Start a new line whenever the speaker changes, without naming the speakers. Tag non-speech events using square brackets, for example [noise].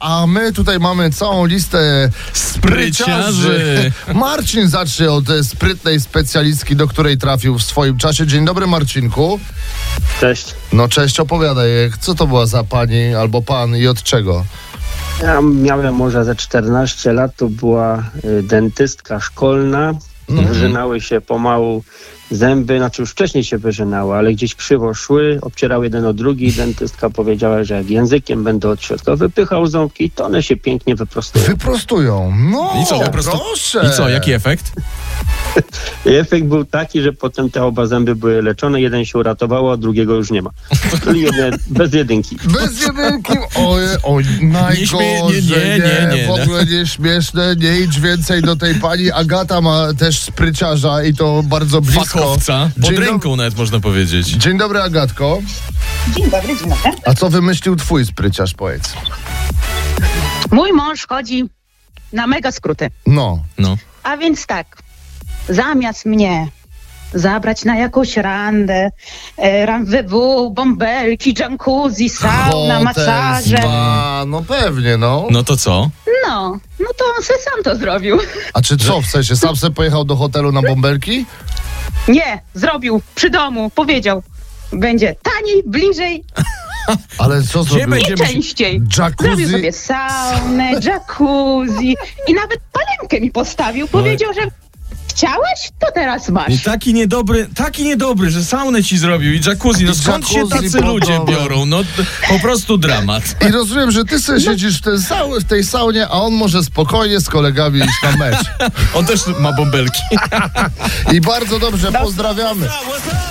A my tutaj mamy całą listę spryciarzy. Marcin zacznie od e, sprytnej specjalistki, do której trafił w swoim czasie. Dzień dobry, Marcinku.
Cześć.
No cześć, opowiadaj, co to była za pani albo pan i od czego?
Ja miałem może ze 14 lat, to była y, dentystka szkolna. Wyrzynały się pomału zęby, znaczy już wcześniej się wyrzynały, ale gdzieś krzywo szły, obcierały jeden o drugi. Dentystka powiedziała, że jak językiem będę od środka wypychał ząbki, to one się pięknie wyprostują.
Wyprostują. No,
I co, po prostu-
proszę.
I co, jaki efekt?
I efekt był taki, że potem te oba zęby były leczone, jeden się uratowało, a drugiego już nie ma. Czyli jedne, bez jedynki.
Bez jedynki, oj, oj, najgorzej,
śmie- nie, nie, nie, nie,
w
no.
ogóle nie śmieszne, nie idź więcej do tej pani. Agata ma też spryciarza i to bardzo blisko.
Fakowca. Pod
Dzień,
ręką nawet można powiedzieć.
dob- Dzień dobry, Agatko.
Dzień dobry, dzień dobry.
A co wymyślił twój spryciarz, powiedz?
Mój mąż chodzi na mega skróty.
No,
No.
A więc tak, zamiast mnie zabrać na jakąś randę, e, randewu, bąbelki, jacuzzi, sauna, masaże,
spa, no pewnie, no.
No to co?
no, no to on se sam to zrobił. [laughs]
A czy co, w sensie, sam se pojechał do hotelu na bąbelki?
Nie, zrobił, przy domu, powiedział. Będzie taniej, bliżej
Ale co
Gdzie
zrobił?
i
będziemy się...
częściej. Zrobił
Jacuzzi?
sobie saunę, jacuzzi i nawet palenkę mi postawił. Powiedział, że chciałeś, to teraz
I
masz.
Taki niedobry, taki niedobry, że saunę ci zrobił i jacuzzi. No
I
skąd się
jacuzzi
tacy ludzie
podobne.
biorą? No t- po prostu dramat.
I rozumiem, że ty sobie siedzisz w, tej sau- w tej saunie, a on może spokojnie z kolegami iść na mecz.
On też ma bąbelki.
I bardzo dobrze, pozdrawiamy.
What's up?